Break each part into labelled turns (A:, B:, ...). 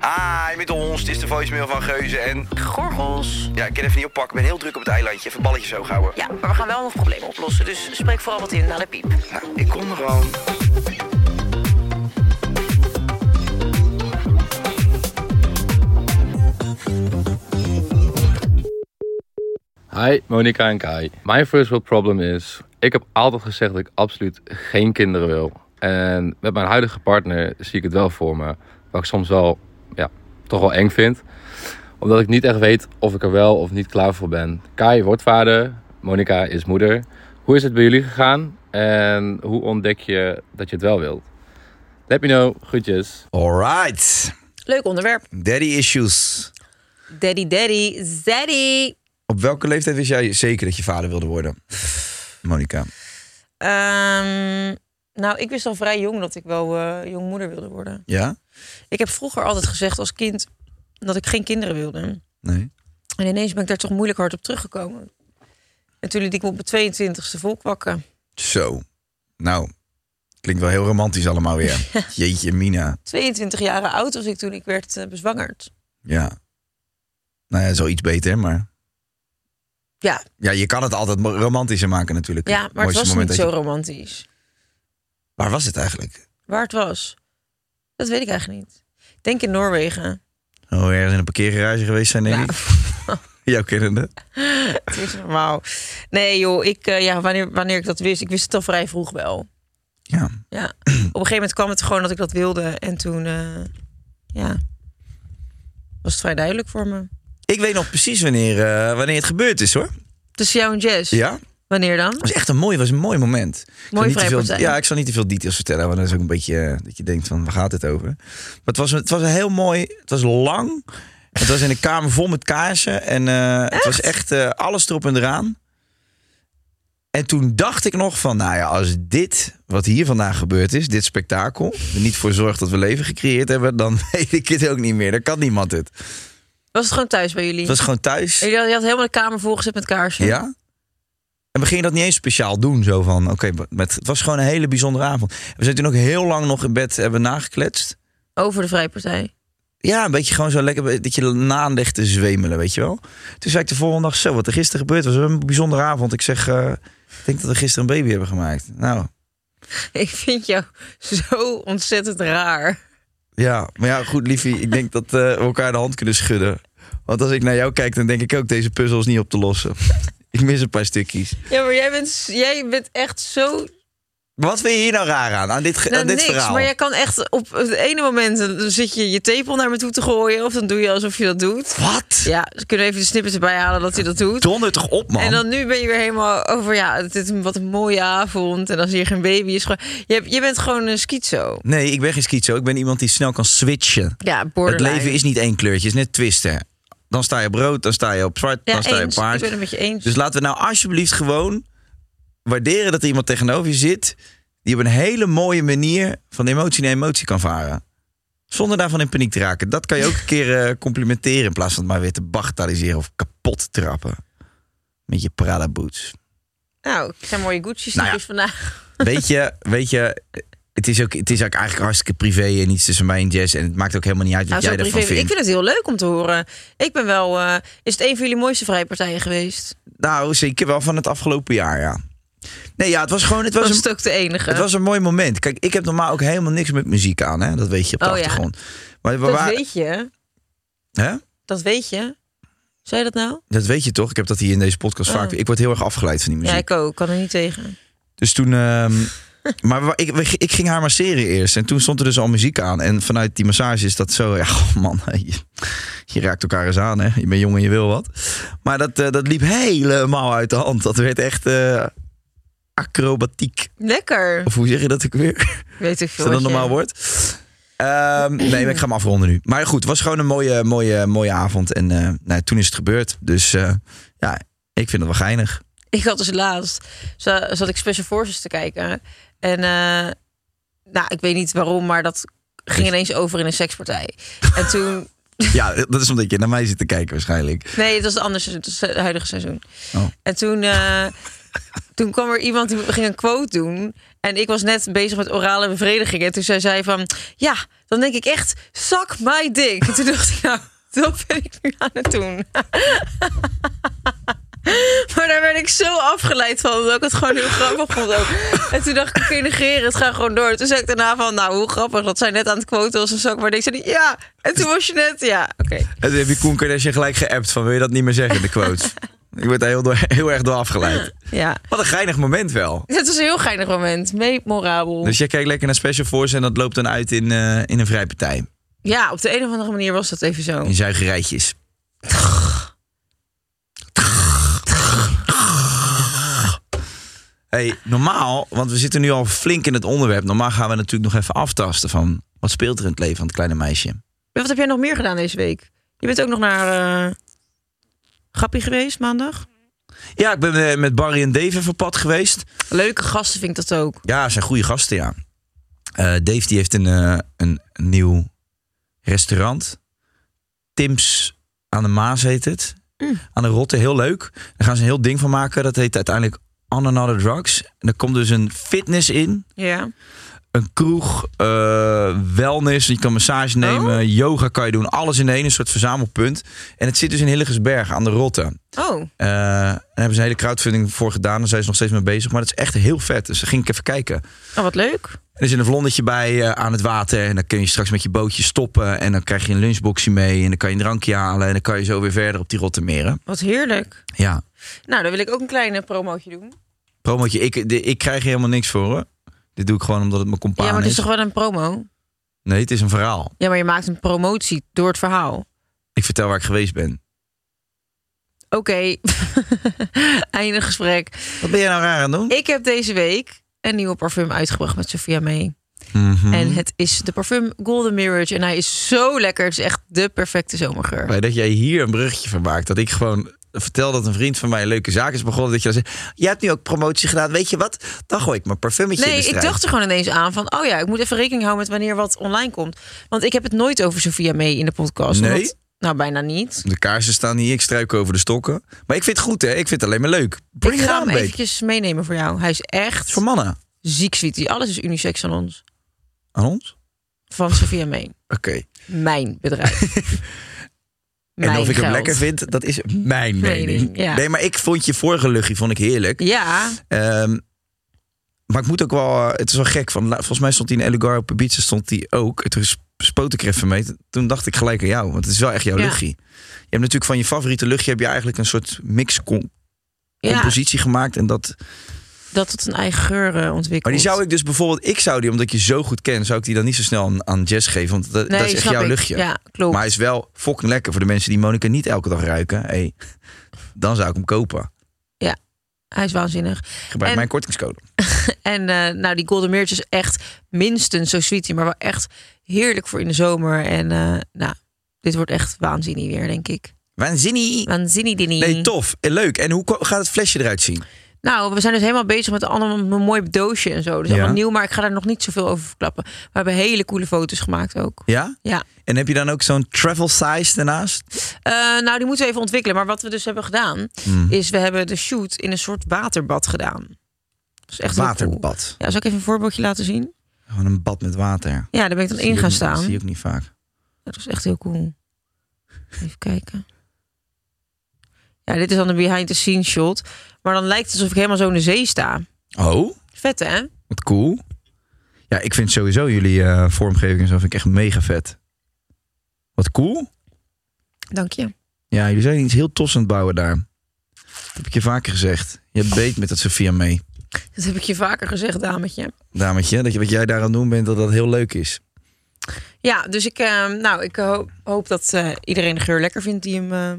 A: Hi, met ons. Dit is de voicemail van Geuzen en... Gorgels. Ja, ik kan even niet oppakken. Ik ben heel druk op het eilandje. Even balletjes hoog houden.
B: Ja, maar we gaan wel nog problemen oplossen, dus spreek vooral wat in naar de piep.
A: Nou, ik kom er gewoon.
C: Hi, Monica en Kai. Mijn first world problem is... Ik heb altijd gezegd dat ik absoluut geen kinderen wil. En met mijn huidige partner zie ik het wel voor me. Wat ik soms wel, ja, toch wel eng vind. Omdat ik niet echt weet of ik er wel of niet klaar voor ben. Kai wordt vader, Monica is moeder. Hoe is het bij jullie gegaan? En hoe ontdek je dat je het wel wilt? Let me know. Groetjes.
D: Alright.
B: Leuk onderwerp.
D: Daddy issues.
B: Daddy, daddy, zaddy.
D: Op welke leeftijd wist jij zeker dat je vader wilde worden? Monica.
B: Ehm, nou, ik wist al vrij jong dat ik wel eh jong moeder wilde worden.
D: Ja?
B: Ik heb vroeger altijd gezegd als kind dat ik geen kinderen wilde.
D: Nee.
B: En ineens ben ik daar toch moeilijk hard op teruggekomen. En toen liet ik me op mijn 22e volkwakken.
D: Zo. Nou, klinkt wel heel romantisch allemaal weer. Jeetje, Mina.
B: 22 jaar oud was ik toen ik werd eh, bezwangerd.
D: Ja. Nou ja, zo iets beter, maar...
B: Ja,
D: Ja, je kan het altijd mo- romantischer maken natuurlijk.
B: ja maar het
D: Mooiste
B: was
D: moment
B: niet zo
D: dat je-
B: romantisch.
D: Waar was het eigenlijk?
B: Waar het was? Dat weet ik eigenlijk niet. Ik Denk in Noorwegen.
D: Oh, ergens in een parkeergarage geweest zijn, denk ik. Jouw kinderen.
B: Het is normaal. Nee joh, ik, eh, ja, wanneer, wanneer ik dat wist, ik wist het al vrij vroeg wel.
D: Ja.
B: Ja. Op een gegeven moment kwam het gewoon dat ik dat wilde. En toen, eh, ja, was het vrij duidelijk voor me.
D: Ik weet nog precies wanneer, eh, wanneer het gebeurd is, hoor.
B: Tussen jou en Jess?
D: Ja?
B: Wanneer dan?
D: Het was echt een mooi, was een mooi moment. Ik zal
B: Mooi
D: niet te veel,
B: vrijpartij.
D: Ja, ik zal niet te veel details vertellen, want dat is ook een beetje eh, dat je denkt van waar gaat het over? Maar het was, een- het was een heel mooi, het was lang. Het was in een kamer vol met kaarsen en eh, het was echt eh, alles erop en eraan. En toen dacht ik nog van, nou ja, als dit wat hier vandaag gebeurd is, dit spektakel, er niet voor zorgt dat we leven gecreëerd hebben, dan weet ik het ook niet meer. Dan kan niemand het.
B: Was het gewoon thuis bij jullie?
D: Het was gewoon thuis.
B: En jullie had- Je had helemaal de kamer volgezet met kaarsen.
D: Ja? En we gingen dat niet eens speciaal doen. Zo van, oké, met het was gewoon een hele bijzondere avond. We zijn toen ook heel lang nog in bed hebben nagekletst.
B: Over de vrijpartij.
D: Ja, een beetje gewoon zo lekker dat je na ligt te zwemelen, weet je wel. Toen zei ik de volgende dag, zo, wat er gisteren gebeurd was, een bijzondere avond. Ik zeg, eh, ik denk dat we gisteren een baby hebben gemaakt. Nou,
B: Ik vind jou zo ontzettend raar.
D: ja, maar ja, goed, liefie, ik denk dat eh, we elkaar de hand kunnen schudden. Want als ik naar jou kijk, dan denk ik ook, deze puzzel is niet op te lossen. ik mis een paar stukjes.
B: Ja, maar jij bent, jij bent echt zo
D: Wat vind je hier nou raar aan, aan dit, ge-
B: Nou,
D: aan dit
B: niks,
D: verhaal?
B: maar jij kan echt op het ene moment dan zit je je tepel naar me toe te gooien of dan doe je alsof je dat doet.
D: Wat?
B: Ja, ze kunnen even de snippets erbij halen dat hij dat doet.
D: Donder toch op, man.
B: En dan nu ben je weer helemaal over ja, dit is een- wat een mooie avond en als hier geen baby is, gewoon, je, hebt- je bent gewoon een schizo.
D: Nee, ik ben geen schizo. Ik ben iemand die snel kan switchen.
B: Ja,
D: Het
B: borderline.
D: leven is niet één kleurtje, het is net twisten. Dan sta je op rood, dan sta je op zwart,
B: ja,
D: dan sta je op
B: eens. Ik
D: paars.
B: ben het met je eens.
D: Dus laten we nou alsjeblieft gewoon waarderen dat er iemand tegenover je zit... die op een hele mooie manier van emotie naar emotie kan varen. Zonder daarvan in paniek te raken. Dat kan je ook een keer eh, complimenteren... in plaats van het maar weer te bagatelliseren of kapot te trappen. Met je Prada boots.
B: nou, het zijn mooie Gucci
D: Nou ja.
B: sneakers vandaag.
D: Weet je, weet je, het is, ook, het is ook eigenlijk hartstikke privé en iets tussen mij en Jess. En het maakt ook helemaal niet uit wat
B: Nou, zo
D: jij ervan
B: privé. Ik
D: vindt.
B: vind het heel leuk om te horen. Ik ben wel eh, is het een van jullie mooiste vrijpartijen geweest?
D: Nou, zeker wel van het afgelopen jaar, ja. Nee, ja, het was gewoon... Het was
B: Dat
D: een,
B: is het ook de enige.
D: Het was een mooi moment. Kijk, ik heb normaal ook helemaal niks met muziek aan, hè? Dat weet je op de
B: Oh, ja.
D: achtergrond. Maar we
B: dat
D: waren-
B: weet je.
D: hè?
B: Dat weet je. Zei je dat nou?
D: dat weet je toch? Ik heb dat hier in deze podcast
B: Oh.
D: vaak. Ik word heel erg afgeleid van die muziek.
B: Ja, ik ook. Kan er niet tegen.
D: Dus toen. ehm, maar wa- ik, we- ik ging haar masseren eerst. En toen stond er dus al muziek aan. En vanuit die massage is dat zo. Ja, goh, man. Je, je raakt elkaar eens aan, hè? Je bent jong en je wil wat. Maar dat, eh, dat liep helemaal uit de hand. Dat werd echt. eh, acrobatiek.
B: Lekker.
D: Of hoe zeg je dat ik weer?
B: Weet ik veel.
D: Is dat een
B: wat je-
D: normaal woord? Ehm, nee, maar ik ga hem afronden nu. Maar goed, het was gewoon een mooie, mooie, mooie avond. En eh, nou, toen is het gebeurd. Dus eh, ja, ik vind het wel geinig.
B: Ik had dus laatst, za- zat ik Special Forces te kijken. En eh, nou, ik weet niet waarom, maar dat ging ineens over in een sekspartij. En toen,
D: Ja, dat is omdat je naar mij zit te kijken waarschijnlijk.
B: nee, het was het andere seizoen, het was het huidige seizoen.
D: Oh.
B: En toen, eh, toen kwam er iemand die ging een quote doen. En ik was net bezig met orale bevrediging. En toen zei zij van, ja, dan denk ik echt, zak my dick. En toen dacht ik, nou, dat ben ik nu aan het doen. Maar daar werd ik zo afgeleid van, dat ik het gewoon heel grappig vond ook. En toen dacht ik, oké, negeren, het gaat gewoon door. Toen zei ik daarna van, nou, hoe grappig, dat zij net aan het quoten was en zak maar dick. Zei die, ja, en toen was je net, ja, oké.
D: En toen heb je Koen Kardashian gelijk geappt van wil je dat niet meer zeggen, de quotes. ik word daar heel, door, heel erg door afgeleid.
B: Ja,
D: Wat een geinig moment wel.
B: het was een heel geinig moment, memorabel.
D: Dus jij kijkt lekker naar Special Force en dat loopt dan uit in, eh, in een vrijpartij.
B: Ja, op de een of andere manier was dat even zo.
D: In zuigerijtjes. Hey, normaal, want we zitten nu al flink in het onderwerp. Normaal gaan we natuurlijk nog even aftasten van wat speelt er in het leven van het kleine meisje.
B: Wat heb jij nog meer gedaan deze week? Je bent ook nog naar eh Grappie geweest maandag.
D: Ja, ik ben eh, met Barry en Dave even op pad geweest.
B: Leuke gasten vind ik dat ook.
D: Ja, ze zijn goede gasten, ja. Eh, Dave die heeft een, eh, een nieuw restaurant. Tim's aan de Maas heet het. Aan de Rotte, heel leuk. Daar gaan ze een heel ding van maken. Dat heet uiteindelijk On Another Drugs. En er komt dus een fitness in.
B: Ja.
D: Een kroeg, eh wellness, je kan massage nemen, yoga kan je doen. Alles in één, een soort verzamelpunt. En het zit dus in Hillegersberg aan de Rotte.
B: Oh,
D: Eh, daar hebben ze een hele crowdfunding voor gedaan. Daar zijn ze nog steeds mee bezig. Maar dat is echt heel vet. Dus daar ging ik even kijken.
B: oh wat leuk.
D: Er zit een vlonnetje bij eh, aan het water. En dan kun je straks met je bootje stoppen. En dan krijg je een lunchboxje mee. En dan kan je een drankje halen. En dan kan je zo weer verder op die Rottermeren.
B: Wat heerlijk.
D: Ja.
B: Nou, dan wil ik ook een kleine promotje doen.
D: Promotje, ik, de- ik krijg hier helemaal niks voor hoor. Dit doe ik gewoon omdat het mijn compaan
B: ja, maar het
D: is.
B: is toch wel een promo?
D: Nee, het is een verhaal.
B: Ja, maar je maakt een promotie door het verhaal.
D: Ik vertel waar ik geweest ben.
B: Oké, einde gesprek.
D: Wat ben jij nou raar aan het doen?
B: Ik heb deze week een nieuwe parfum uitgebracht met Sophia mee.
D: Mhm.
B: En het is de parfum Golden Mirage. En hij is zo lekker. Het is echt de perfecte zomergeur.
D: Bij Dat jij hier een bruggetje van maakt. Dat ik gewoon vertel dat een vriend van mij een leuke zaak is begonnen. Dat je dan zegt, jij hebt nu ook promotie gedaan. Weet je wat? Dan gooi ik mijn parfummetje in
B: Nee,
D: de
B: ik
D: strijd.
B: dacht er gewoon ineens aan van... oh ja, ik moet even rekening houden met wanneer wat online komt. Want ik heb het nooit over Sophia mee in de podcast.
D: Nee?
B: omdat- nou, bijna niet.
D: De kaarsen staan hier. Ik struik over de stokken. Maar ik vind het goed hè. Ik vind het alleen maar leuk. Bring
B: ik
D: it
B: ga
D: on,
B: hem
D: babe.
B: eventjes meenemen voor jou. Hij is echt
D: Voor mannen.
B: ziek sweetie. Alles is unisex aan ons.
D: Aan ons?
B: Van Sophia mee.
D: Oké.
B: Mijn bedrijf.
D: En
B: Mijn
D: of ik hem
B: geld.
D: lekker vind, dat is mijn
B: Mening,
D: mening.
B: ja.
D: Nee, maar ik vond je vorige luchtje vond ik heerlijk.
B: Ja,
D: Ehm, maar ik moet ook wel... eh, Het is wel gek. Van, la- volgens mij stond hij in Elugar op Ibiza stond hij ook. Toen sp- spoot ik er even mee. Toen dacht ik gelijk aan jou. Want het is wel echt jouw
B: Ja.
D: luchtje. Je hebt natuurlijk van je favoriete luchtje... heb je eigenlijk een soort mix-compositie
B: ja
D: gemaakt. En dat,
B: dat het een eigen geur eh, ontwikkelt.
D: maar die zou ik dus bijvoorbeeld... Ik zou die, omdat ik je zo goed ken... zou ik die dan niet zo snel aan, aan Jess geven. Want dat,
B: Nee,
D: dat is echt
B: snap
D: jouw
B: ik.
D: luchtje.
B: Ja, klopt.
D: Maar hij is wel fucking lekker voor de mensen die Monica niet elke dag ruiken. Hey, dan zou ik hem kopen.
B: Hij is waanzinnig.
D: Gebruik
B: En-
D: mijn kortingscode.
B: En eh, nou, die Golden Mirage is echt minstens zo sweetie, maar wel echt heerlijk voor in de zomer. En eh, nou, dit wordt echt waanzinnig weer, denk ik.
D: Waanzinnig.
B: Waanzinnig dini.
D: Nee, tof. En leuk. En hoe ko- gaat het flesje eruit zien?
B: Nou, we zijn dus helemaal bezig met allemaal een mooi doosje en zo. Dus
D: Ja.
B: allemaal nieuw, maar ik ga daar nog niet zoveel over verklappen. We hebben hele coole foto's gemaakt ook.
D: Ja?
B: Ja.
D: En heb je dan ook zo'n travel size daarnaast?
B: Eh, nou, die moeten we even ontwikkelen. Maar wat we dus hebben gedaan,
D: Mm.
B: is we hebben de shoot in een soort waterbad gedaan. Dat is echt heel cool.
D: Waterbad.
B: Ja, zal ik even een voorbeeldje laten zien?
D: Gewoon een bad met water.
B: Ja, daar ben ik dan in gaan
D: Dat
B: staan.
D: zie ik niet vaak.
B: Dat was echt heel cool. Even kijken. Ja, dit is dan een behind-the-scenes shot. Maar dan lijkt het alsof ik helemaal zo in de zee sta.
D: Oh,
B: Vet, hè?
D: wat cool. Ja, ik vind sowieso jullie eh, vormgeving en zo vind ik echt mega vet. Wat cool.
B: Dank je.
D: Ja, jullie zijn iets heel tofs aan het bouwen daar. Dat heb ik je vaker gezegd. Je hebt beet met dat Sophia mee.
B: Dat heb ik je vaker gezegd, dametje.
D: Dametje, dat je, wat jij daar aan het doen bent, dat dat heel leuk is.
B: Ja, dus ik, eh, nou, ik ho- hoop dat eh, iedereen de geur lekker vindt die hem eh,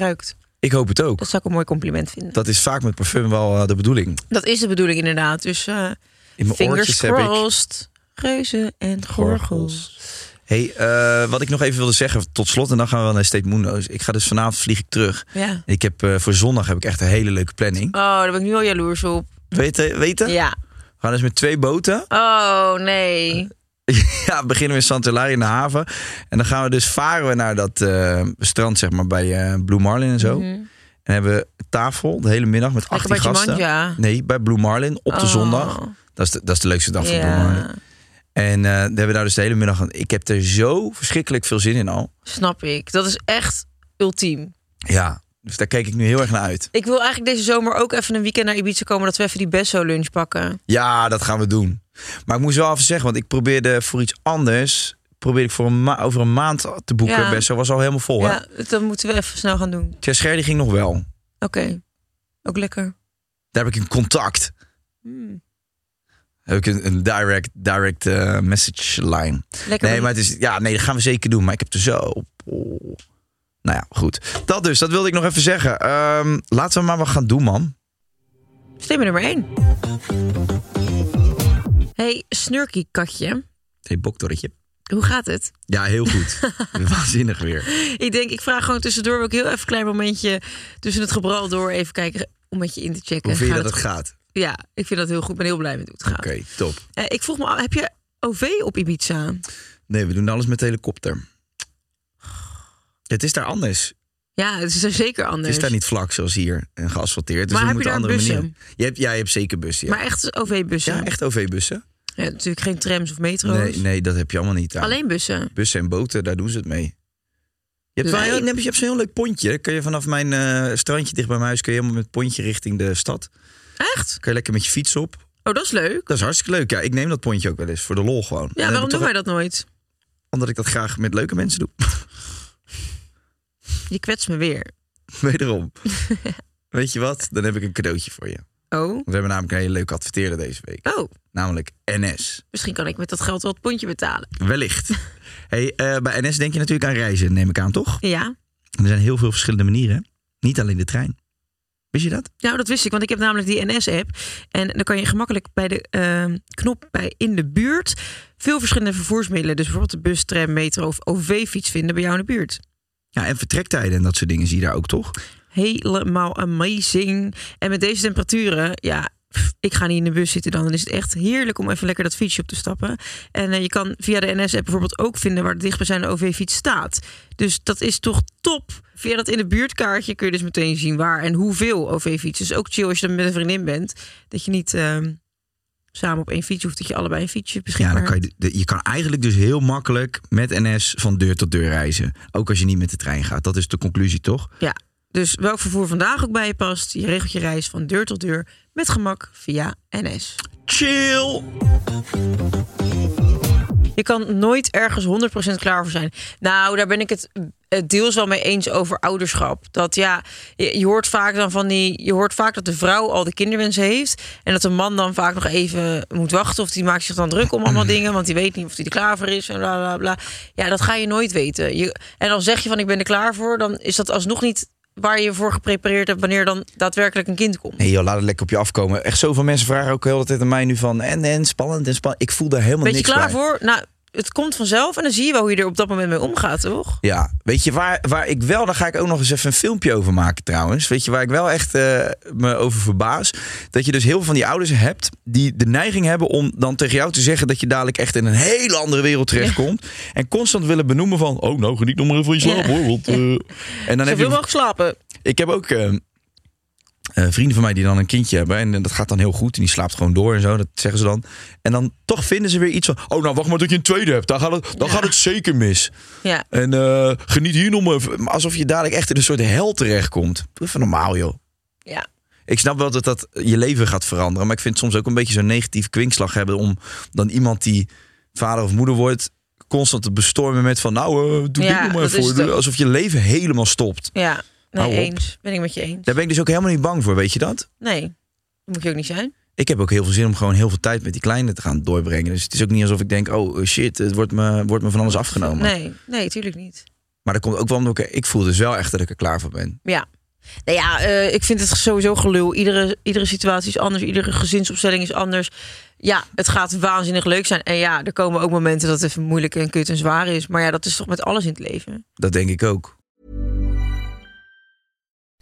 B: ruikt.
D: Ik hoop het ook.
B: Dat zou ik een mooi compliment vinden. Dat,
D: Dat is vaak met parfum wel eh, de bedoeling.
B: is de bedoeling inderdaad. Dus eh,
D: In mijn
B: fingers
D: oortjes heb ik...
B: crossed. Reuzen en
D: Gorgels.
B: gorgels.
D: Hey, eh, wat ik nog even wilde zeggen, tot slot, en dan gaan we wel naar State Moondo's. Ik ga dus vanavond vlieg ik terug.
B: Ja.
D: Ik heb, eh, voor zondag heb ik echt een hele leuke planning.
B: Oh, daar ben ik nu al jaloers op.
D: Weten? weten?
B: Ja.
D: We gaan dus met twee boten.
B: Oh, nee.
D: ja, we beginnen we in Santillari in de haven. En dan gaan we dus varen we naar dat eh, strand, zeg maar, bij eh, Blue Marlin en zo. En hebben we tafel de hele middag met 18
B: Mhm. bij
D: gasten.
B: Jumanji.
D: Nee, bij Blue Marlin op de
B: Oh.
D: zondag. Dat is de, dat is de leukste dag van Blue Marlin.
B: Ja,
D: En eh, daar hebben we daar dus de hele middag aan. Ik heb er zo verschrikkelijk veel zin in al.
B: snap ik. Dat is echt ultiem.
D: Ja, dus daar kijk ik nu heel erg naar uit.
B: Ik wil eigenlijk deze zomer ook even een weekend naar Ibiza komen... dat we even die Besso-lunch pakken.
D: Ja, dat gaan we doen. Maar ik moest wel even zeggen, want ik probeerde voor iets anders... probeerde ik voor een ma- over een maand te boeken.
B: Ja.
D: Best zo was al helemaal vol, hè?
B: Ja, dat moeten we even snel gaan doen.
D: Tja, Scher, die ging nog wel.
B: Oké. Ook lekker.
D: Daar heb ik een contact.
B: Hmm.
D: Heb ik een, een direct, direct eh, message line.
B: Lekker.
D: Nee, maar het is, ja, nee, dat gaan we zeker doen. Maar ik heb er zo op. oh. Nou ja, goed. Dat dus, dat wilde ik nog even zeggen. Ehm, laten we maar wat gaan doen, man.
B: Stemmen nummer 1. Hey, snurky katje.
D: Hey, boktorretje.
B: Hoe gaat het?
D: Ja, heel goed. Waanzinnig weer.
B: Ik denk, ik vraag gewoon tussendoor. Wil ik heel even een klein momentje tussen het gebral door even kijken om met je in te checken.
D: Hoe vind je
B: Gaat
D: dat het gaat?
B: goed? Ja, ik vind dat heel goed. Ik ben heel blij met hoe het gaat.
D: Oké, top.
B: Eh, ik vroeg me af, heb je OV op Ibiza?
D: Nee, we doen alles met helikopter. Het is daar anders.
B: Ja, het is daar zeker anders.
D: Het is daar niet vlak zoals hier en geasfalteerd. Dus
B: dus- Maar
D: we
B: heb je
D: moeten
B: daar
D: andere
B: bussen?
D: manieren. Je hebt, ja, je hebt zeker bussen. Ja,
B: Maar echt OV-bussen?
D: ja echt OV-bussen.
B: Ja, natuurlijk geen trams of metro's.
D: Nee, nee, dat heb je allemaal niet. daar.
B: Alleen bussen.
D: bussen en boten, daar doen ze het mee. Je hebt, wel
B: Leuk.
D: heel, nee, maar je hebt zo'n heel leuk pontje. Dan kun je vanaf mijn eh, strandje dicht bij mijn huis kun je helemaal met het pontje richting de stad.
B: Echt?
D: Kun je lekker met je fiets op.
B: Oh, dat is leuk.
D: Dat is hartstikke leuk. Ja, ik neem dat pontje ook wel eens voor de lol gewoon.
B: Ja, waarom doen wij dat nooit?
D: Omdat ik dat graag met leuke mensen doe.
B: Je kwetst me weer.
D: Wederom. Weet je wat? Dan heb ik een cadeautje voor je.
B: Oh.
D: We hebben namelijk een hele leuke adverteerder deze week.
B: Oh,
D: Namelijk NS.
B: misschien kan ik met dat geld wel het pondje betalen.
D: Wellicht. hey, eh, bij NS denk je natuurlijk aan reizen, neem ik aan, toch?
B: Ja.
D: Er zijn heel veel verschillende manieren. hè? Niet alleen de trein. Wist je dat?
B: Nou, dat wist ik, want ik heb namelijk die NS-app. En dan kan je gemakkelijk bij de ehm, knop bij in de buurt veel verschillende vervoersmiddelen, dus bijvoorbeeld de bus, tram, metro of OV-fiets vinden bij jou in de buurt.
D: Ja, en vertrektijden en dat soort dingen zie je daar ook, toch?
B: Helemaal amazing. En met deze temperaturen, ja, pff, ik ga niet in de bus zitten dan. Dan is het echt heerlijk om even lekker dat fietsje op te stappen. En eh, je kan via de NS-app bijvoorbeeld ook vinden waar de dichtstbijzijnde OV-fiets staat. Dus dat is toch top. Via dat in de buurtkaartje kun je dus meteen zien waar en hoeveel OV-fietsen. Dus ook chill als je dan met een vriendin bent, dat je niet ehm, samen op één fiets hoeft, dat je allebei een fietsje
D: Ja,
B: beschikbaar
D: dan kan
B: hebt.
D: je, de- je kan eigenlijk dus heel makkelijk met NS van deur tot deur reizen. Ook als je niet met de trein gaat. Dat is de conclusie, toch?
B: Ja, dus welk vervoer vandaag ook bij je past, je regelt je reis van deur tot deur met gemak via NS.
D: Chill!
B: Je kan nooit ergens 100% klaar voor zijn. Nou, daar ben ik het eh, deels wel mee eens over ouderschap. Dat ja, je, je hoort vaak dan van die. Je hoort vaak dat de vrouw al de kinderwensen heeft. En dat de man dan vaak nog even moet wachten. Of die maakt zich dan druk om allemaal dingen. Want die weet niet of hij er klaar voor is. En bla bla bla. Ja, dat ga je nooit weten. Je, en dan zeg je van ik ben er klaar voor. Dan is dat alsnog niet waar je je voor geprepareerd hebt. wanneer dan daadwerkelijk een kind komt.
D: Nee joh, laat het lekker op je afkomen. Echt zoveel mensen vragen ook heel de tijd aan mij nu van... en, en, spannend en spannend. Ik voel daar helemaal
B: Ben je
D: niks
B: klaar
D: bij.
B: voor? Nou, het komt vanzelf. En dan zie je wel hoe je er op dat moment mee omgaat, toch?
D: Ja, weet je waar, waar ik wel, daar ga ik ook nog eens even een filmpje over maken trouwens. Weet je waar ik wel echt eh, me over verbaas? Dat je dus heel veel van die ouders hebt die de neiging hebben om dan tegen jou te zeggen dat je dadelijk echt in een hele andere wereld terechtkomt. En constant willen benoemen van, oh nou geniet nog maar even van je slaap
B: Ja.
D: hoor. Want, eh." En dan heb
B: Zoveel
D: je,
B: mogelijk slapen.
D: ik heb ook eh, eh, vrienden van mij die dan een kindje hebben. En eh, dat gaat dan heel goed. En die slaapt gewoon door en zo. Dat zeggen ze dan. En dan toch vinden ze weer iets van... Oh, nou wacht maar tot je een tweede hebt. Dan gaat het, dan gaat het zeker mis.
B: Ja.
D: En eh, geniet hier nog maar even. Maar Alsof je dadelijk echt in een soort hel terechtkomt. Doe even normaal, joh.
B: Ja.
D: Ik snap wel dat dat je leven gaat veranderen. Maar ik vind het soms ook een beetje zo'n negatief kwinkslag hebben... om dan iemand die vader of moeder wordt... constant te bestormen met van... Nou, eh, doe
B: Ja,
D: dit nog maar
B: dat
D: even
B: is
D: voor.
B: het ook.
D: Alsof je leven helemaal stopt.
B: Ja, nee,
D: Hou op.
B: eens. Ben ik met je eens.
D: Daar ben ik dus ook helemaal niet bang voor, weet je dat?
B: Nee, dat moet je ook niet zijn.
D: ik heb ook heel veel zin om gewoon heel veel tijd met die kleine te gaan doorbrengen. Dus het is ook niet alsof ik denk, oh eh, shit, het wordt me, wordt me van alles afgenomen.
B: Nee, nee, tuurlijk niet.
D: Maar dat komt ook wel omdat ik, ik voel dus wel echt dat ik er klaar voor ben.
B: Ja. Nou ja, eh, ik vind het sowieso gelul. Iedere, iedere situatie is anders, iedere gezinsopstelling is anders. Ja, het gaat waanzinnig leuk zijn. En ja, er komen ook momenten dat het even moeilijk en kut en zwaar is. Maar ja, dat is toch met alles in het leven.
D: Dat denk ik ook.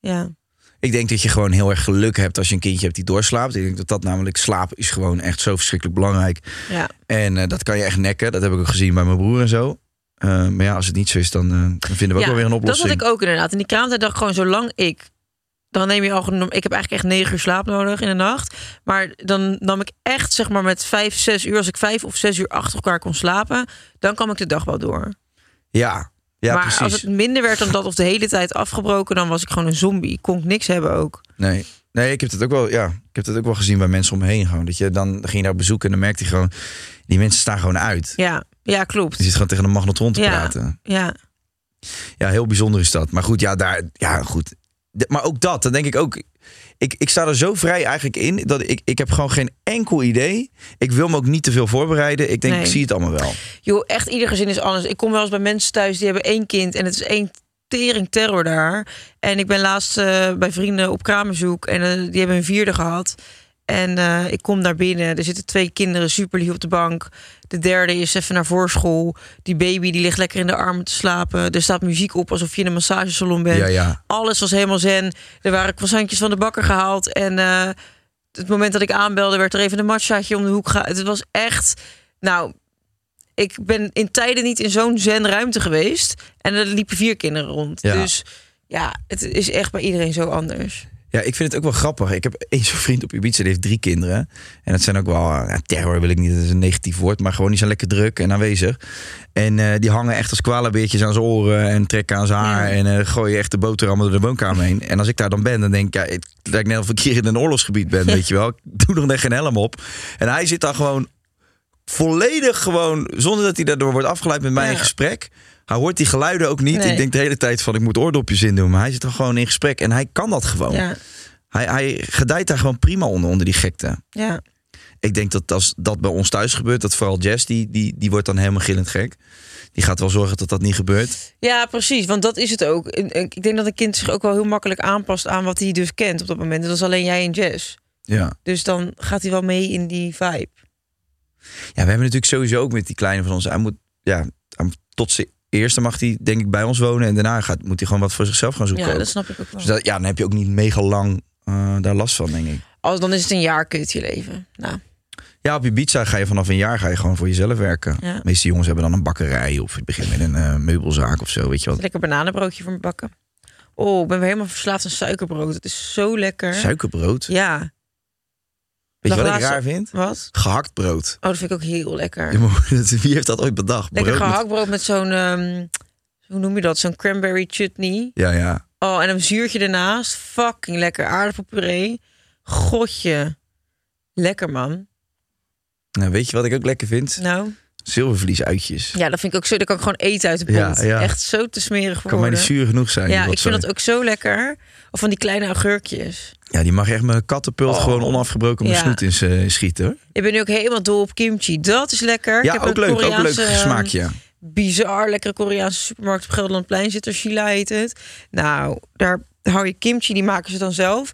B: Ja.
D: Ik denk dat je gewoon heel erg geluk hebt als je een kindje hebt die doorslaapt. Ik denk dat dat namelijk slaap is gewoon echt zo verschrikkelijk belangrijk.
B: Ja.
D: En eh, dat kan je echt nekken. Dat heb ik ook gezien bij mijn broer en zo. Eh, maar ja, als het niet zo is, dan, eh, dan vinden we ook
B: ja,
D: wel weer een oplossing.
B: Dat had ik ook inderdaad. En die kraamtijd dacht ik gewoon, zolang ik... Dan neem je al... genomen- Ik heb eigenlijk echt negen uur slaap nodig in de nacht. Maar dan nam ik echt zeg maar met vijf, zes uur... Als ik vijf of zes uur achter elkaar kon slapen... Dan kwam ik de dag wel door.
D: Ja, ja
B: maar
D: precies.
B: als het minder werd dan dat of de hele tijd afgebroken... Dan was ik gewoon een zombie. Kon ik niks hebben ook.
D: Nee. Nee, ik heb dat ook wel, ja, ik heb dat ook wel gezien bij mensen om me heen. Gewoon. Dat je dan ging je daar bezoeken en dan merkte je gewoon, die mensen staan gewoon uit.
B: Ja, ja klopt.
D: Je zit gewoon tegen een magnetron te
B: ja,
D: praten.
B: Ja,
D: Ja, heel bijzonder is dat. Maar goed, ja, daar, ja, goed. De- maar ook dat, dan denk ik ook, ik, ik sta er zo vrij eigenlijk in dat ik, ik heb gewoon geen enkel idee. Ik wil me ook niet te veel voorbereiden. Ik denk,
B: Nee.
D: ik zie het allemaal wel.
B: Joh, echt ieder gezin is anders. Ik kom wel eens bij mensen thuis die hebben één kind en het is één tering terror daar. En ik ben laatst eh, bij vrienden op kraambezoek en eh, die hebben een vierde gehad. En eh, ik kom daar binnen, er zitten twee kinderen super lief op de bank. De derde is even naar voorschool. Die baby die ligt lekker in de armen te slapen. Er staat muziek op alsof je in een massagesalon bent.
D: Ja, ja.
B: Alles was helemaal zen. Er waren croissantjes van de bakker gehaald. En eh, het moment dat ik aanbelde, werd er even een matchaatje om de hoek gehaald. Het was echt. Nou, ik ben in tijden niet in zo'n zen-ruimte geweest. En er liepen vier kinderen rond.
D: Ja.
B: Dus ja, het is echt bij iedereen zo anders.
D: Ja, ik vind het ook wel grappig. Ik heb één zo'n vriend op Ibiza, die heeft drie kinderen. En dat zijn ook wel, eh, ja, terror wil ik niet, dat is een negatief woord. Maar gewoon, die zijn lekker druk en aanwezig. En eh, die hangen echt als kwalabeertjes aan zijn oren en trekken aan zijn haar. En eh, gooien echt de boterhammen door de woonkamer heen. En als ik daar dan ben, dan denk ik, ja, het lijkt net of ik hier in een oorlogsgebied ben, weet je wel. Ik doe nog net geen helm op. En hij zit dan gewoon volledig gewoon, zonder dat hij daardoor wordt afgeleid met mij
B: Ja.
D: in gesprek. Hij hoort die geluiden ook niet.
B: Nee.
D: Ik denk de hele tijd van, ik moet oordopjes in doen. Maar hij zit dan gewoon in gesprek en hij kan dat gewoon.
B: Ja,
D: Hij, hij gedijt daar gewoon prima onder, onder die gekte.
B: ja,
D: Ik denk dat als dat bij ons thuis gebeurt, dat vooral Jess, die, die, die wordt dan helemaal gillend gek. Die gaat wel zorgen dat dat niet gebeurt.
B: ja, precies. Want dat is het ook. En, en Ik denk dat een kind zich ook wel heel makkelijk aanpast aan wat hij dus kent op dat moment. En dat is alleen jij en Jess.
D: Ja.
B: Dus dan gaat hij wel mee in die vibe.
D: Ja, we hebben natuurlijk sowieso ook met die kleine van ons. Hij moet, ja, hij moet- tot zijn eerste mag hij denk ik bij ons wonen. En daarna gaat, moet hij gewoon wat voor zichzelf gaan zoeken.
B: Ja,
D: ook.
B: dat snap ik ook wel.
D: Dus dat, ja, dan heb je ook niet mega lang eh, daar last van, denk ik.
B: Als, dan is het een jaar kut je leven. Nou,
D: Ja, op Ibiza ga je vanaf een jaar ga je gewoon voor jezelf werken.
B: Ja.
D: De meeste jongens hebben dan een bakkerij of je begint met een eh, meubelzaak of zo, weet je wat.
B: lekker bananenbroodje voor me bakken. Oh, ik ben weer helemaal verslaafd aan suikerbrood. Het is zo lekker.
D: Suikerbrood.
B: Ja.
D: Weet je wat ik
B: Laatst-
D: raar vind?
B: Wat?
D: Gehakt brood.
B: Oh, dat vind ik ook heel lekker.
D: Ja, maar dat- Wie heeft dat ooit bedacht?
B: lekker
D: Brood met-
B: gehaktbrood met zo'n, ehm, hoe noem je dat? Zo'n cranberry chutney.
D: Ja, ja.
B: Oh, en een zuurtje ernaast. Fucking lekker. Aardappelpuree. Godje. Lekker, man.
D: Nou, weet je wat ik ook lekker vind?
B: Nou,
D: Zilvervliesuitjes.
B: ja, dat vind ik ook zo. Dat kan ik gewoon eten uit de
D: Ja,
B: pot.
D: ja.
B: Echt zo te smerig voor
D: Kan mij niet zuur genoeg zijn.
B: Ja,
D: die
B: ik vind dat
D: rotzooi.
B: ook zo lekker. Of van die kleine augurkjes.
D: ja, die mag echt mijn kattenpult gewoon onafgebroken mijn
B: Oh. Ja.
D: snoet in ze- schieten. hoor.
B: Ik ben nu ook helemaal dol op kimchi. Dat is lekker.
D: Ja,
B: ik heb
D: ook
B: een
D: leuk. Ook leuk
B: Koreaanse, ehm,
D: smaakje.
B: bizar lekkere Koreaanse supermarkt op Gelderlandplein zit. Er Shila heet het. Nou, daar hou je kimchi, die maken ze dan zelf.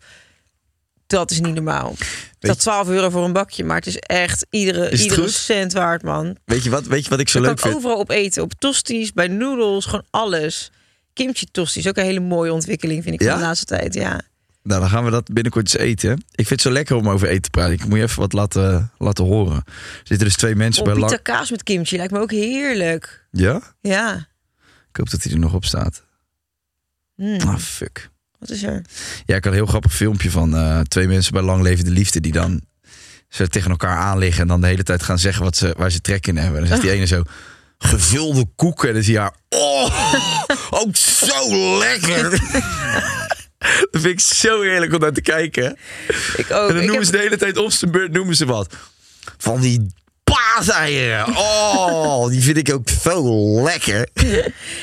B: Dat is niet normaal. Dat 12 euro voor een bakje, maar het is echt iedere,
D: Is het
B: iedere
D: goed?
B: cent waard, man.
D: Weet je wat, weet je wat ik zo
B: Daar kan
D: leuk
B: ik
D: vind?
B: overal op eten. Op tosties, bij noedels, gewoon alles. Kimchi tosties, ook een hele mooie ontwikkeling vind ik
D: Ja?
B: van de laatste tijd. Ja.
D: Nou, dan gaan we dat binnenkort eens eten. Ik vind het zo lekker om over eten te praten. Ik moet je even wat laten, laten horen. Er zitten dus twee mensen
B: Of
D: bij
B: pita
D: lang.
B: kaas met kimchi lijkt me ook heerlijk.
D: Ja?
B: Ja.
D: Ik hoop dat hij er nog op staat.
B: Hmm,
D: Ah, fuck.
B: Wat is er?
D: Ja, ik had een heel grappig filmpje van eh, twee mensen bij lang levende liefde die dan ze tegen elkaar aanliggen en dan de hele tijd gaan zeggen wat ze, waar ze trek in hebben. En dan zegt die
B: Ah.
D: ene zo gevulde koeken en dan zie je haar oh, ook zo lekker. Dat vind ik zo heerlijk om naar te kijken.
B: Ik
D: En
B: ook.
D: dan
B: Oh, ik
D: noemen
B: heb-
D: ze de hele tijd op zijn beurt noemen ze wat. Van die paaseieren. Oh, die vind ik ook zo lekker.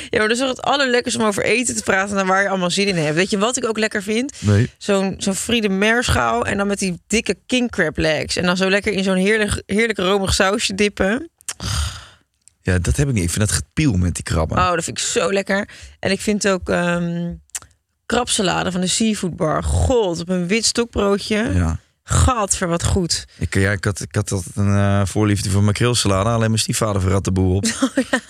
B: Ja, maar dat is toch het allerlekkers om over eten te praten en waar je allemaal zin in hebt. Weet je wat ik ook lekker vind?
D: Nee.
B: Zo'n zo'n Friede Meerschaal en dan met die dikke king crab legs. En dan zo lekker in zo'n heerlijk, heerlijk romig sausje dippen.
D: Ja, dat heb ik niet. Ik vind dat gepiel met die krabben.
B: Oh, dat vind ik zo lekker. En ik vind ook ehm krabsalade van de Seafood Bar. God, op een wit stokbroodje.
D: Ja.
B: Gadver, wat goed.
D: Ik, ja, ik, had, ik had altijd een eh, voorliefde voor makreelsalade. Alleen mijn stiefvader verrat de boel op.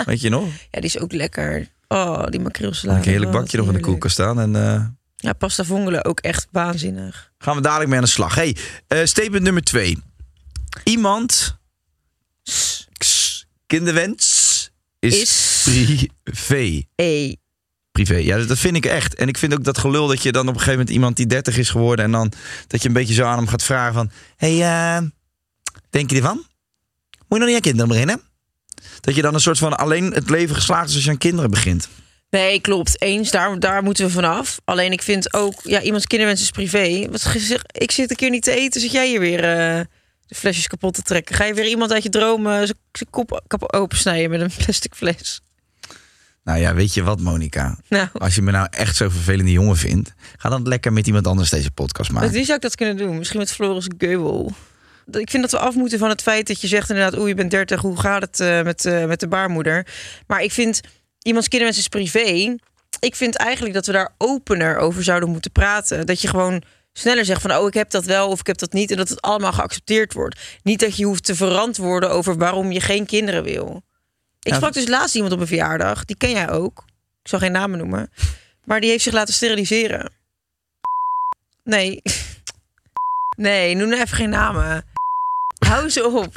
D: Weet je nog?
B: Oh, Ja, die is ook lekker. Oh, die makreelsalade.
D: Een heerlijk
B: Oh, wat
D: bakje nog in de
B: heerlijk.
D: koelkast staan. En eh,
B: Ja, pasta vongole ook echt waanzinnig.
D: gaan we dadelijk mee aan de slag. Hey, eh, statement nummer twee. Iemand... Kss, kinderwens is,
B: Is- e.
D: privé.
B: Hey,
D: Privé. Ja, dat vind ik echt. En ik vind ook dat gelul dat je dan op een gegeven moment iemand die 30 is geworden... en dan dat je een beetje zo aan hem gaat vragen van... Hé, hey, eh, denk je ervan? Moet je nog niet aan kinderen beginnen? Dat je dan een soort van alleen het leven geslaagd is als je aan kinderen begint.
B: Nee, klopt. Eens, daar, daar moeten we vanaf. Alleen ik vind ook, ja, iemands kinderwens is privé. Wat gezegd, ik zit een keer niet te eten, zit jij hier weer eh, de flesjes kapot te trekken? Ga je weer iemand uit je droom eh, zijn zijn kop kap opensnijden met een plastic fles?
D: Nou ja, weet je wat, Monica?
B: Nou,
D: Als je me nou echt zo'n vervelende jongen vindt... ga dan lekker met iemand anders deze podcast
B: met
D: maken.
B: wie zou ik dat kunnen doen? Misschien met Floris Geubel. Ik vind dat we af moeten van het feit dat je zegt inderdaad... oeh, je bent 30, hoe gaat het eh, met, eh, met de baarmoeder? Maar ik vind, iemands kinderwens is privé. Ik vind eigenlijk dat we daar opener over zouden moeten praten. Dat je gewoon sneller zegt van... oh, ik heb dat wel of ik heb dat niet. En dat het allemaal geaccepteerd wordt. Niet dat je hoeft te verantwoorden over waarom je geen kinderen wil. Ik
D: Ja,
B: sprak dus laatst iemand op een verjaardag. Die ken jij ook. Ik zal geen namen noemen. Maar die heeft zich laten steriliseren. Nee. Nee, noem nou even geen namen. Hou ze op.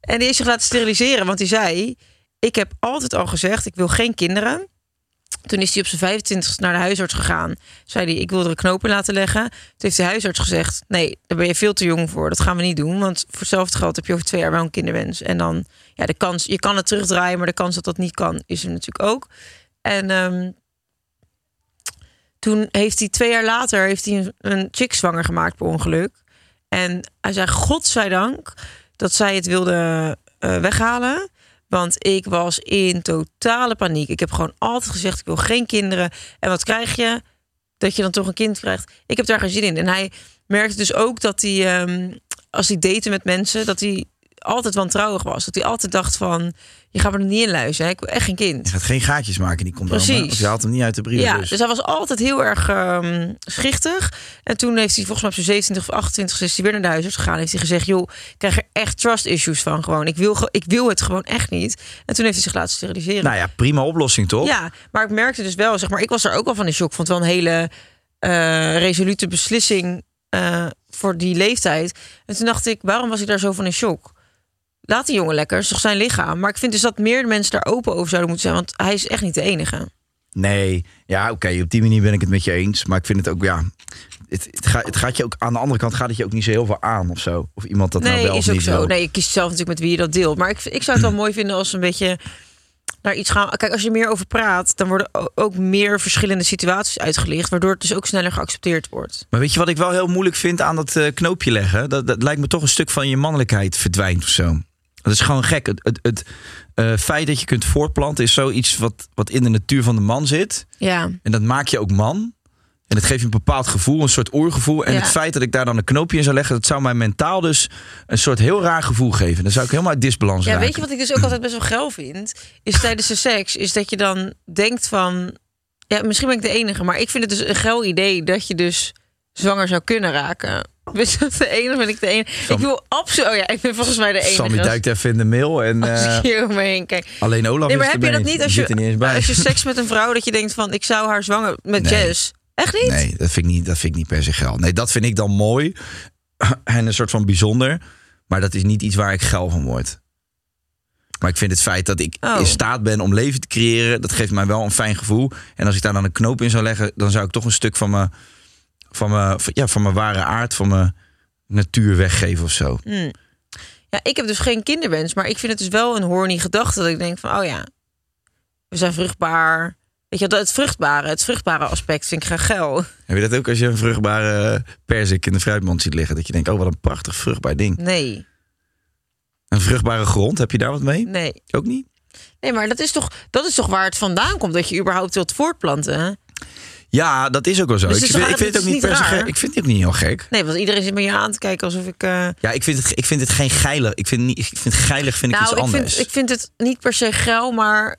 B: En die heeft zich laten steriliseren, want die zei... Ik heb altijd al gezegd, ik wil geen kinderen. Toen is hij op zijn 25 naar de huisarts gegaan. Zei hij, ik wil er een knoop in laten leggen. Toen heeft de huisarts gezegd, nee, daar ben je veel te jong voor. Dat gaan we niet doen, want voor hetzelfde geld heb je over twee jaar wel een kinderwens. En dan, ja, de kans, je kan het terugdraaien, maar de kans dat dat niet kan, is er natuurlijk ook. En ehm, toen heeft hij twee jaar later heeft hij een, een chick zwanger gemaakt per ongeluk. En hij zei, godzijdank dat zij het wilde eh, weghalen. Want ik was in totale paniek. Ik heb gewoon altijd gezegd, ik wil geen kinderen. En wat krijg je? Dat je dan toch een kind krijgt. Ik heb daar geen zin in. En hij merkte dus ook dat hij, ehm, als hij date met mensen, dat hij altijd wantrouwig was. Dat hij altijd dacht van, je gaat me er niet in luisteren. Ik wil echt geen kind.
D: Je gaat geen gaatjes maken in die condoom. hè?
B: Precies.
D: Of je haalt hem niet uit de brievenbus.
B: Ja, dus hij was altijd heel erg ehm, schichtig. En toen heeft hij volgens mij op zijn 27 of 28 is hij weer naar de huisarts gegaan. Heeft hij gezegd, joh, ik krijg er echt trust issues van gewoon. Ik wil, ge- ik wil het gewoon echt niet. En toen heeft hij zich laten steriliseren.
D: Nou ja, prima oplossing toch?
B: Ja, maar ik merkte dus wel, zeg maar, ik was er ook al van in shock. Vond wel een hele eh, resolute beslissing eh, voor die leeftijd. En toen dacht ik, waarom was ik daar zo van in shock? Laat die jongen lekker, is toch zijn lichaam. Maar ik vind dus dat meer mensen daar open over zouden moeten zijn, want hij is echt niet de enige.
D: Nee, ja, oké, op die manier ben ik het met je eens. Maar ik vind het ook, ja, het, het, ga- het gaat je ook aan de andere kant gaat het je ook niet zo heel veel aan of zo. Of iemand dat nou
B: nee,
D: wel
B: is
D: of
B: ook
D: niet
B: zo.
D: wil.
B: Nee, je kiest zelf natuurlijk met wie je dat deelt. Maar ik, ik zou het wel mooi vinden als we een beetje naar iets gaan. Kijk, als je meer over praat, dan worden o- ook meer verschillende situaties uitgelicht, waardoor het dus ook sneller geaccepteerd wordt.
D: Maar weet je wat ik wel heel moeilijk vind aan dat eh, knoopje leggen? Dat, dat lijkt me toch een stuk van je mannelijkheid verdwijnt of zo. Dat is gewoon gek. Het, het, het eh, feit dat je kunt voortplanten is zoiets wat, wat in de natuur van de man zit.
B: Ja.
D: En dat maak je ook man. En het geeft je een bepaald gevoel, een soort oergevoel. En
B: Ja.
D: het feit dat ik daar dan een knoopje in zou leggen, dat zou mij mentaal dus een soort heel raar gevoel geven. Dan zou ik helemaal uit disbalans
B: Ja,
D: raken.
B: weet je wat ik dus ook altijd best wel grauw vind? Is tijdens de seks, is dat je dan denkt van... Ja, misschien ben ik de enige, maar ik vind het dus een grauw idee dat je dus zwanger zou kunnen raken. Weet je dat de enige? Ben ik de enige? ik wil absoluut... Oh ja, ik ben volgens mij de enige.
D: Sammy
B: als-
D: duikt even in de mail en
B: Als
D: eh,
B: ik hier om me heen kijk.
D: alleen Olaf
B: Nee, maar
D: is
B: heb je
D: erbij.
B: dat niet
D: Die
B: als je,
D: zit er niet eens bij.
B: als je seks met een vrouw... dat je denkt van, ik zou haar zwanger... met
D: Nee.
B: Jess. Echt niet?
D: Nee, dat vind, ik niet, dat vind ik niet per se geil. Nee, dat vind ik dan mooi en een soort van bijzonder. Maar dat is niet iets waar ik geil van word. Maar ik vind het feit dat ik
B: Oh.
D: in staat ben om leven te creëren, dat geeft mij wel een fijn gevoel. En als ik daar dan een knoop in zou leggen, dan zou ik toch een stuk van mijn, van mijn, van- ja, van mijn ware aard, van mijn natuur weggeven of zo.
B: Mm. Ja, ik heb dus geen kinderwens, maar ik vind het dus wel een horny gedachte dat ik denk van, oh ja, we zijn vruchtbaar. Weet je, dat het vruchtbare, het vruchtbare aspect vind ik graag geil.
D: Heb je dat ook als je een vruchtbare eh, perzik in de fruitmand ziet liggen? Dat je denkt, oh wat een prachtig vruchtbaar ding.
B: Nee,
D: Een vruchtbare grond, heb je daar wat mee?
B: nee.
D: Ook niet?
B: Nee, maar dat is, toch, dat is toch waar het vandaan komt, dat je überhaupt wilt voortplanten? hè?
D: Ja, dat is ook wel zo.
B: Dus
D: ik,
B: het is
D: vind,
B: raar,
D: ik vind het ook
B: het is
D: niet per
B: niet
D: se
B: raar.
D: gek. Ik vind het ook niet heel gek.
B: Nee, want iedereen zit me hier aan te kijken alsof ik... eh,
D: Ja, ik vind het, ik vind het geen geilig. Ik vind, niet, ik vind geilig vind ik
B: nou,
D: iets
B: ik
D: anders.
B: vind, ik vind het niet per se geil, maar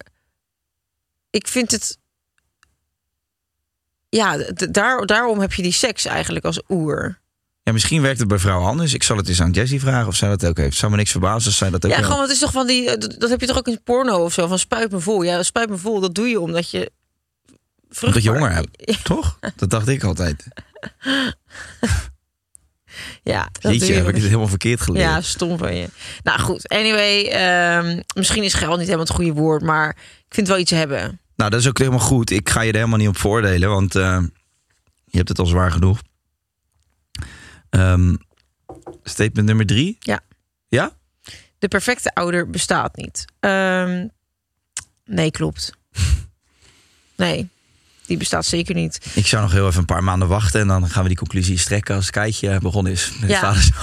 B: ik vind het... Ja, d- daar, daarom heb je die seks eigenlijk als oer.
D: Ja, misschien werkt het bij vrouwen anders. Ik zal het eens aan Jessie vragen of zij dat ook heeft. Zou me niks verbazen als zij dat ook
B: Ja,
D: heeft.
B: gewoon, het is toch van die. eh, Dat dat heb je toch ook in porno of zo? Van spuit me vol. Ja, spuit me vol, dat doe je omdat je.
D: Omdat je
B: vruchtbaar-
D: honger hebt, toch? Dat dacht ik altijd.
B: Ja, dat doe
D: Jeetje,
B: je
D: heb ik het helemaal verkeerd geleerd.
B: Ja, stom van je. Nou goed, anyway. ehm, misschien is geld niet helemaal het goede woord, maar ik vind het wel iets hebben.
D: Nou, dat is ook helemaal goed. Ik ga je er helemaal niet op voordelen, want eh, je hebt het al zwaar genoeg. Ehm, statement nummer drie.
B: Ja.
D: Ja?
B: De perfecte ouder bestaat niet. Ehm, nee, klopt. Nee, die bestaat zeker niet.
D: Ik zou nog heel even een paar maanden wachten en dan gaan we die conclusies trekken als Keitje begonnen is. Met
B: Ja.
D: vaders.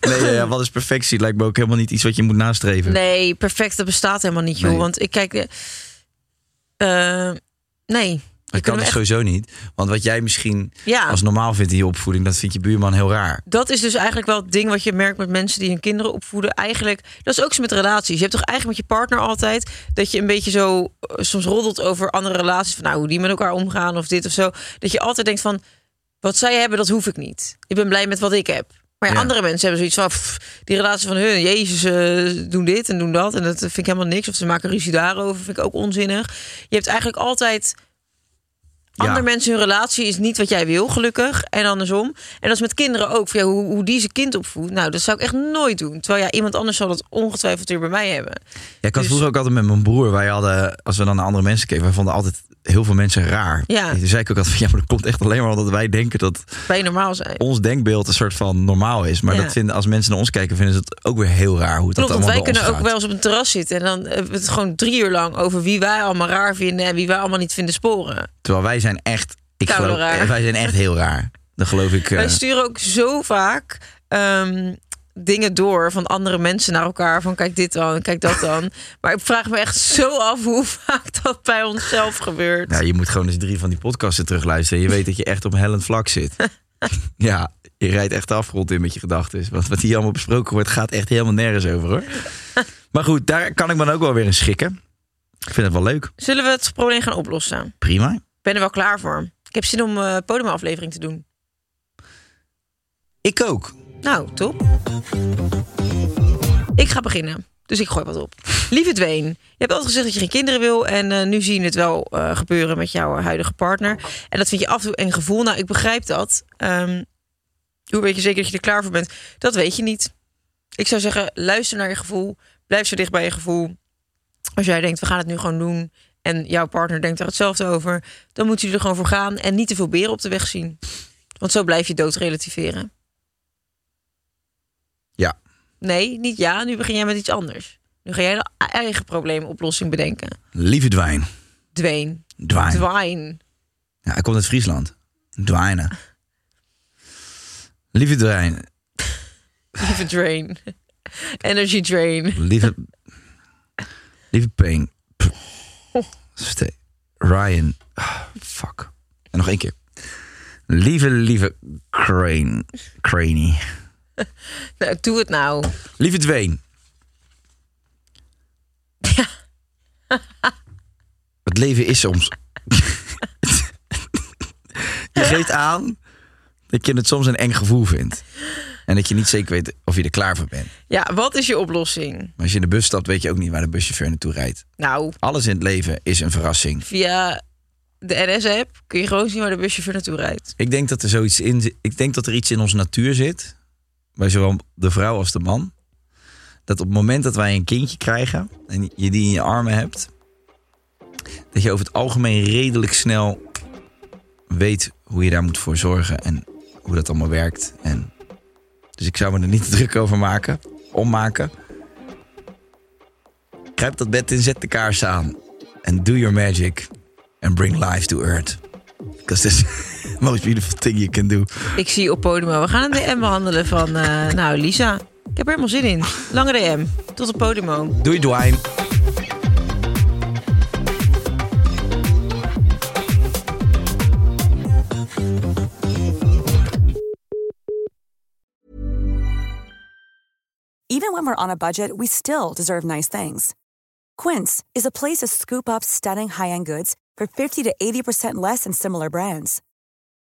D: nee, ja, ja, wat is perfectie? Lijkt me ook helemaal niet iets wat je moet nastreven.
B: Nee, perfect, dat bestaat helemaal niet, joh.
D: Nee.
B: Want ik kijk. eh, eh, nee.
D: dat kan dus sowieso niet. Want wat jij misschien
B: Ja.
D: als normaal vindt in je opvoeding, dat vindt je buurman heel raar.
B: dat is dus eigenlijk wel het ding wat je merkt met mensen die hun kinderen opvoeden. Eigenlijk, dat is ook zo met relaties. Je hebt toch eigenlijk met je partner altijd dat je een beetje zo eh, soms roddelt over andere relaties. Van nou, hoe die met elkaar omgaan of dit of zo. Dat je altijd denkt van, wat zij hebben, dat hoef ik niet. Ik ben blij met wat ik heb. Maar ja,
D: Ja.
B: andere mensen hebben zoiets van, pff, die relatie van hun, jezus, eh, doen dit en doen dat. En dat vind ik helemaal niks. Of ze maken ruzie daarover, vind ik ook onzinnig. Je hebt eigenlijk altijd
D: Ja.
B: andere mensen hun relatie is niet wat jij wil, gelukkig. En andersom. En dat is met kinderen ook. Van, ja, hoe, hoe die zijn kind opvoedt. Nou, dat zou ik echt nooit doen. Terwijl ja, iemand anders zal dat ongetwijfeld weer bij mij hebben.
D: Ja, ik had
B: Dus-
D: vroeger ook altijd met mijn broer. Wij hadden, als we dan naar andere mensen keken, wij vonden altijd heel veel mensen raar.
B: Ja.
D: En Toen zei ik ook altijd van, ja, maar dat komt echt alleen maar omdat wij denken dat
B: Bij normaal zijn.
D: ons denkbeeld een soort van normaal is. Maar
B: Ja.
D: dat vinden, als mensen naar ons kijken, vinden ze het ook weer heel raar hoe dat
B: Klopt, want
D: allemaal bij
B: wij
D: ons
B: kunnen ook
D: gaat.
B: wel eens op een terras zitten. En dan hebben we het gewoon drie uur lang over wie wij allemaal raar vinden. En wie wij allemaal niet vinden sporen.
D: Terwijl wij zijn echt, ik
B: Koude
D: geloof,
B: raar.
D: wij zijn echt heel raar. Dat geloof ik. eh,
B: Wij sturen ook zo vaak ehm, dingen door van andere mensen naar elkaar. Van kijk dit dan, kijk dat dan. maar ik vraag me echt zo af hoe vaak dat bij onszelf gebeurt.
D: nou, je moet gewoon eens drie van die podcasten terugluisteren. Je weet dat je echt op hellend vlak zit. ja, je rijdt echt de afgrond in met je gedachten. Want wat hier allemaal besproken wordt, gaat echt helemaal nergens over hoor. maar goed, daar kan ik me dan ook wel weer in schikken. Ik vind het wel leuk.
B: Zullen we het probleem gaan oplossen?
D: Prima.
B: Ik ben er wel klaar voor. Ik heb zin om eh podiumaflevering te doen.
D: Ik ook.
B: Nou, top. Ik ga beginnen. Dus ik gooi wat op. Lieve Dwayne, je hebt altijd gezegd dat je geen kinderen wil. En eh, nu zie je het wel eh, gebeuren met jouw huidige partner. En dat vind je af en toe een gevoel. Nou, ik begrijp dat. Ehm, hoe weet je zeker dat je er klaar voor bent? Dat weet je niet. Ik zou zeggen, luister naar je gevoel. Blijf zo dicht bij je gevoel. Als jij denkt, we gaan het nu gewoon doen. En jouw partner denkt daar hetzelfde over. Dan moet je er gewoon voor gaan. En niet te veel beren op de weg zien. Want zo blijf je dood relativeren.
D: Ja.
B: Nee, niet ja. Nu begin jij met iets anders. Nu ga jij een eigen probleemoplossing bedenken.
D: Lieve Dwijn.
B: Dwayne.
D: Dwijn.
B: Dwayne.
D: Ja, hij komt uit Friesland. Dwijnen. Lieve Dwijn.
B: Lieve drain. Energy drain.
D: Lieve. lieve Peng. Pff. Ste- Ryan. Ah, fuck. En nog één keer. Lieve, lieve Crane. Craney.
B: Nou, doe het nou.
D: Lieve Dwayne. Het leven is soms. je geeft aan dat je het soms een eng gevoel vindt. En dat je niet zeker weet of je er klaar voor bent.
B: Ja, wat is je oplossing?
D: Maar als je in de bus stapt, weet je ook niet waar de buschauffeur naartoe rijdt.
B: Nou,
D: Alles in het leven is een verrassing.
B: via de NS-app kun je gewoon zien waar de buschauffeur naartoe rijdt.
D: Ik denk dat er zoiets in zi- Ik denk dat er iets in onze natuur zit. Bij zowel de vrouw als de man. Dat op het moment dat wij een kindje krijgen. en je die in je armen hebt. dat je over het algemeen redelijk snel. weet hoe je daar moet voor zorgen. en hoe dat allemaal werkt. En dus ik zou me er niet te druk over maken. ommaken. Kruip dat bed in, zet de kaars aan. and do your magic. and bring life to earth. Because this is the most beautiful thing you can do.
B: Ik zie op podium, we gaan een DM behandelen van, eh, nou Lisa, ik heb er helemaal zin in. Lange DM, tot op podium.
D: Doei Dwayne.
E: Even when we're on a budget, we still deserve nice things. Quince is a place to scoop up stunning high-end goods for 50 to 80% less than similar brands.